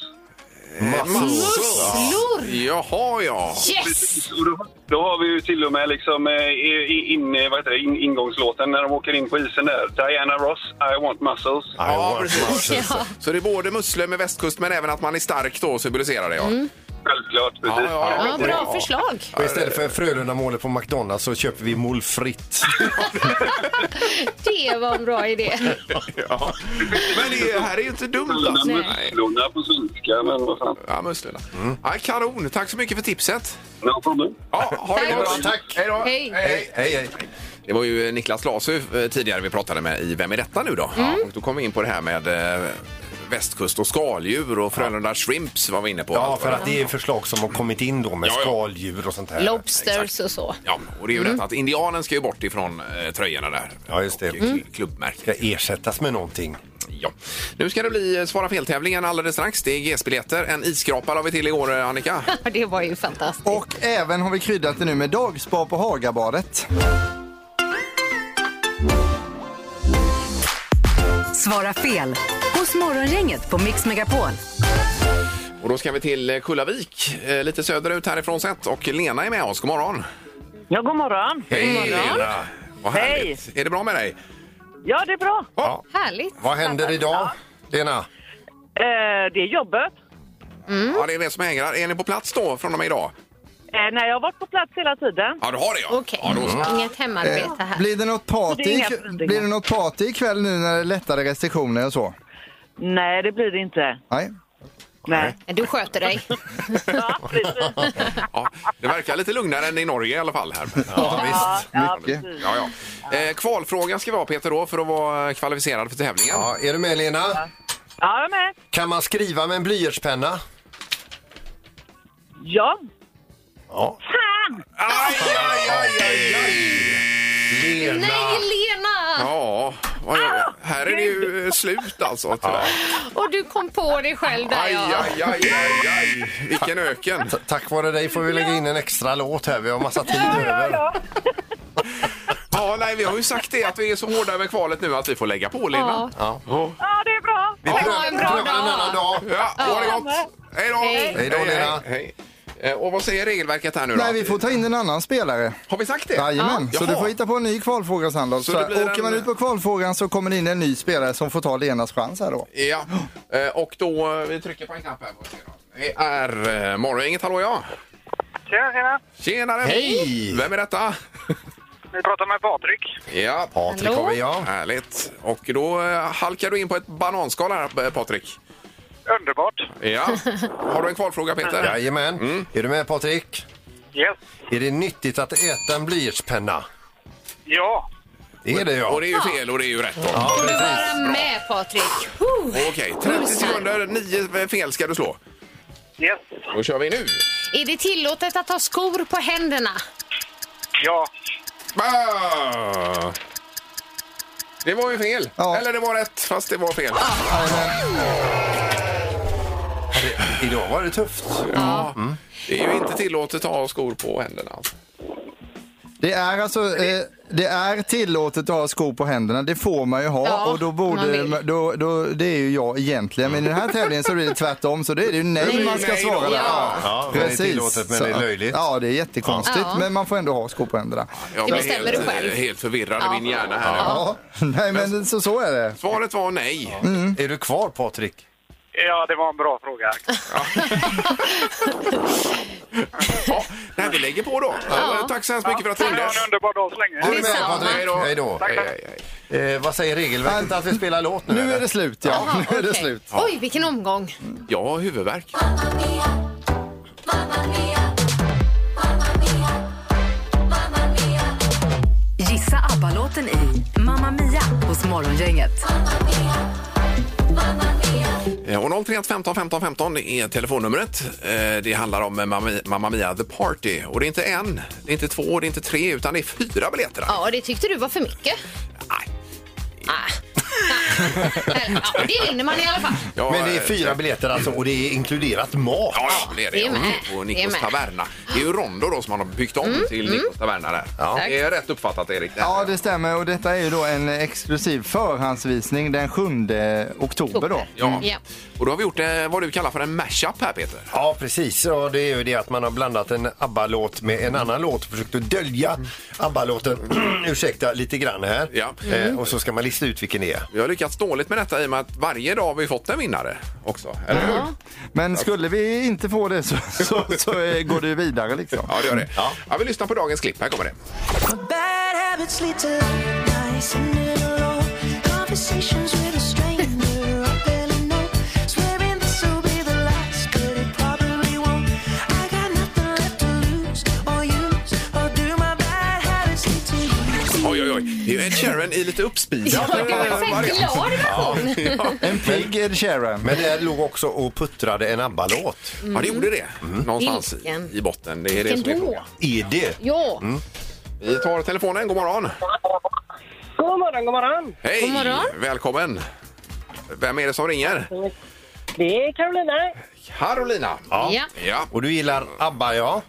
Musslor! Jaha, ja. Yes! Och då, då har vi ju till och med liksom eh, i- in, eh, vad heter det, in, ingångslåten när de åker in på isen där. Diana Ross, I want muscles. Ja, want precis. muscles. Så det är både musslor med västkust men även att man är stark då symboliserar det. Ja. Självklart, Ja, precis. ja, Ja, bra förslag. Och istället för Frölunda-målet på McDonalds så köper vi mål fritt. Det var en bra idé. Ja. Men det här är ju inte dumt Frölunda alltså. Nej. Musslorna på svenska, men vad fan. Ja, musslorna. Ja, kanon, tack så mycket för tipset. No problem. Ja, ha det Tack. gott. Tack. Hej då. Hej. Hej, hej, hej. Det var ju Niklas Lasu eh, tidigare vi pratade med i Vem är detta nu då? Ja, och då kom vi in på det här med eh, västkust och skaldjur och Frölunda Shrimps var vi inne på. Ja, Allt för vad att det är förslag som har kommit in då med Ja, ja. skaldjur och sånt här. Lobsters och så. Ja, och det är ju detta att indianen ska ju bort ifrån eh, tröjorna där. Ja, just det. Och, eh, Mm. Klubbmärket. Ska ersättas med någonting. Ja. Nu ska det bli eh, Svara fel-tävlingen alldeles strax. Det är GS-biljetter. En isskrapa la vi till igår, eh, Annika. Ja, Det var ju fantastiskt. Och även har vi kryddat det nu med dagspa på Hagabadet. Svara fel hos Morgongänget på Mix Megapol. Och då ska vi till eh, Kullavik, eh, lite söderut härifrån sett. Och Lena är med oss. God morgon! Ja, god morgon. Hej God morgon. Lena! Vad härligt! Är det bra med dig? Ja, det är bra. Ja. Härligt. Vad händer idag, Lena? Eh, det är jobbet. Mm. Ja, det är det som hänger. Är ni på plats då från och med idag? Eh, nej, jag har varit på plats hela tiden. Ja, du har det ja. Okej, Ja, då så. inget hemarbete här. Blir det något party, Det är inga ik- förändringar. blir det något party ikväll nu när det är lättare restriktioner och så? Nej, det blir det inte. Nej? Nej. Du sköter dig. Ja, precis. Ja, det verkar lite lugnare än i Norge i alla fall. Här. Ja, visst. ja, Mycket. precis. Ja, ja. Eh, kvalfrågan ska vi ha Peter då för att vara kvalificerad för tävlingen. Ja, är du med Lena? Ja, jag är med. Kan man skriva med en blyertspenna? Ja. Ja. Fan! Aj, aj, aj, aj, aj. Lena! Nej, Lena! Ja, vad gör- här är det ju slut alltså tyvärr. Och du kom på dig själv där Aj, ja. aj, aj, aj, aj. Vilken öken. Ta- Tack vare dig får vi lägga in en extra låt här. Vi har massa tid Ja, över. ja. Ja, nej, vi har ju sagt det att vi är så hårda med kvalet nu att vi får lägga på Lena. Ja. ja, det är bra. Ha en bra Pröva en annan dag. dag. Ja, ha det gott. Hej då. Hej. Hej då, Lena. hej, hej. Eh, Och vad säger regelverket här nu då? Nej, vi får ta in en annan spelare. Har vi sagt det? Jajamän, så Jaha. du får hitta på en ny kvalfråga Sandholt. Så Så det blir åker en- man ut på kvalfrågan så kommer det in en ny spelare som får ta Lenas chans här då. Ja, Eh, och då eh, vi trycker på en knapp här. får vi se då. Det är eh, Morgongänget, hallå ja! Tjena, tjena. Tjenare! Hej! Vem är detta? Vi pratar med Patrik. Ja, Patrik har vi, ja. härligt. Och då eh, halkar du in på ett bananskal här, eh, Patrik. Underbart. Ja. Har du en kvalfråga, Peter? Jajamän. Mm. Är du med Patrik? Yes. Är det nyttigt att äta en blyertspenna? Ja. Det är det Och ja. det är ju fel och det är ju rätt. då. Du var med Patrik. Okej, 30 sekunder, 9 fel ska du slå. Yes. Då kör vi nu. Är det tillåtet att ha skor på händerna? Ja. Ah! Det var ju fel. Ja. Eller det var rätt, fast det var fel. Idag var det tufft. Mm. Det är ju inte tillåtet att ha skor på händerna. alltså. Det är alltså, eh, det är tillåtet att ha skor på händerna, det får man ju ha Ja, och då man borde, vill. då, då, det är ju jag egentligen. Men i den här tävlingen så blir det tvärtom så då är det ju nej Nej, man ska nej då. svara där. Ja. Ja, men det är tillåtet, men det är löjligt. Ja, det är jättekonstigt Ja. men man får ändå ha skor på händerna. Jag Det blir bestämmer helt, du själv. eh, Helt förvirrad i Ja. min hjärna här. nu. Ja, nej men så, så är det. Svaret var nej. Är du kvar Patrik? Ja, det var en bra fråga. Ja, nej, vi lägger på då. Eh, Tack så hemskt mycket för att du ringde. underbar dag så länge. Är du med Detsamma. Patrik? Hej då. Hej, hej, hej. Eh, vad säger regelverket att vi spelar låt nu? Nu är eller? det slut ja. Jaha, nu är det okej. slut. Oj, vilken omgång. Jag har huvudvärk. Gissa ABBA-låten i Mamma Mia hos Morgongänget. Eh, Och 031 15 15 15 är telefonnumret. Eh, Det handlar om eh, Mamma- Mamma Mia The Party. Och det är inte en, det är inte två, det är inte tre, utan det är fyra biljetter. Ja, det tyckte du var för mycket. Nej. Ah. Ah. Eller, ja, det vinner man i alla fall. Ja, Men det är eh, fyra biljetter alltså och det är inkluderat mat. Ja, ja, det är det. Det är med. Och Det är Nikos med. Mm. Taverna. Det är ju Rondo då som man har byggt om till Nikos Taverna där. Det är rätt uppfattat Erik. Det här. Ja, det stämmer. Och detta är ju då en exklusiv förhandsvisning den 7 oktober då. Ja. Ja. Och då har vi gjort eh, vad du kallar för en mashup här Peter. Ja, precis. Och det är ju det att man har blandat en ABBA-låt med en annan låt och försökt att dölja ABBA-låten, ursäkta, lite grann här. Ja. Eh, och så ska man lista ut vilken det är. Vi har lyckats dåligt med detta i och med att varje dag har vi fått en vinnare också. Eller hur? Men skulle vi inte få det så, så, så eh, går det ju vidare liksom. Ja, det gör det. Ja. vi lyssnar på dagens klipp. Här kommer det. Oj, oj, oj. Det är ju Ed Sheeran i lite Ja, uppspeedad det var eh, en variant. glad version. En pigg Ed Sheeran. Men där låg också och puttrade en ABBA-låt. Ja, det gjorde det. Någonstans i- Mm. Vilken? i botten. Det är det som är Vilken då? frågan. Är det? Ja, Vi tar telefonen. God morgon. God morgon, god morgon. Hej! God morgon. Välkommen. Vem är det som ringer? Det är Carolina. Carolina. Ja. Ja. Och du gillar ABBA, ja?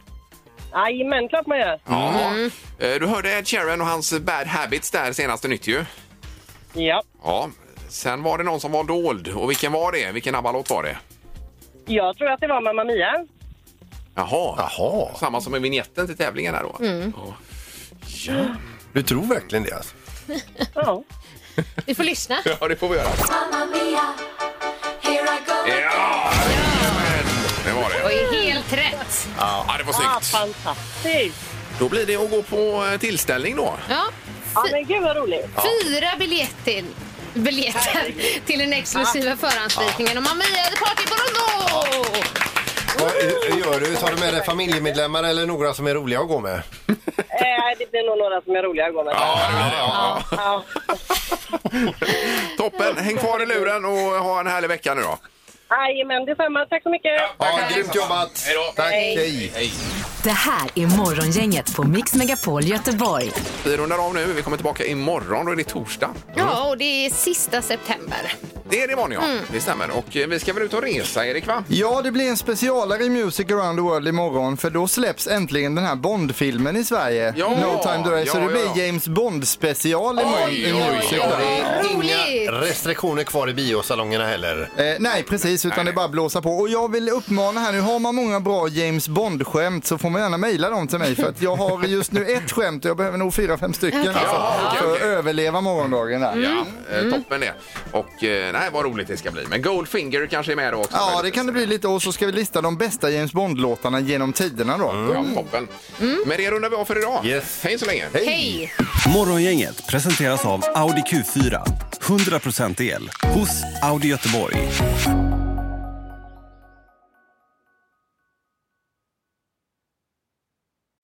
Jajamän, klart man gör. Ja. Eh, Du hörde Ed Sheeran och hans Bad Habits där senaste nytt ju. Ja. Ja. Sen var det någon som var dold. Och vilken var det? Vilken ABBA-låt var det? Jag tror att det var Mamma Mia. Jaha. Jaha. Samma som i vignetten till tävlingen här då. Mm. Ja. Du tror verkligen det? Alltså. Ja. Vi får lyssna. Ja, det får vi göra. Mamma mia, here I go Ja! Det var det. Och är helt rätt. Ja, det var Ah, snyggt. fantastiskt. Då blir det att gå på eh, tillställning då. Ja. Ja, men gud vad roligt. Fyra biljetter, biljetter till den exklusiva förhandsvisningen om Mamma Mia The Party på Rondo! Vad hur- hur gör du? Tar du med dig familjemedlemmar eller några som är roliga att gå med? Eh, det blir nog några som är roliga att gå med. Ja. Toppen! Häng kvar i luren och ha en härlig vecka nu då. Jajamän, detsamma. Tack så mycket. Ja, grymt jobbat! Hej då! Tack, Hej. hej! Det här är Morgongänget på Mix Megapol Göteborg. Vi rundar av nu. Vi kommer tillbaka imorgon. Då är det torsdag. Ja, och det är sista september. Det är det imorgon, ja. Mm. Det stämmer. Och eh, vi ska väl ut och resa, Erik, va? Ja, det blir en specialare i Music around the world imorgon för då släpps äntligen den här Bond-filmen i Sverige. Ja, no time to race. Så ja, det blir ja. James Bond-special imorgon i Music. Inga restriktioner kvar i biosalongerna heller. Eh, nej, precis, utan det är bara att blåsa på. Och jag vill uppmana här nu, har man många bra James Bond-skämt så får man gärna mejla dem till mig för att jag har just nu ett skämt och jag behöver nog fyra, fem stycken Okej. alltså, Ja, okej, för att okej. överleva morgondagen där. Ja, eh, toppen det. Och eh, nej, vad roligt det ska bli. Men Goldfinger kanske är med då också. Ja, det kan det bli lite. Och så ska vi lista de bästa James Bond-låtarna genom tiderna då. Ja, toppen. Men det rundar vi av för idag. Hej så länge. Hej! Morgongänget presenteras av Audi Q4. 100% el hos Audi Göteborg.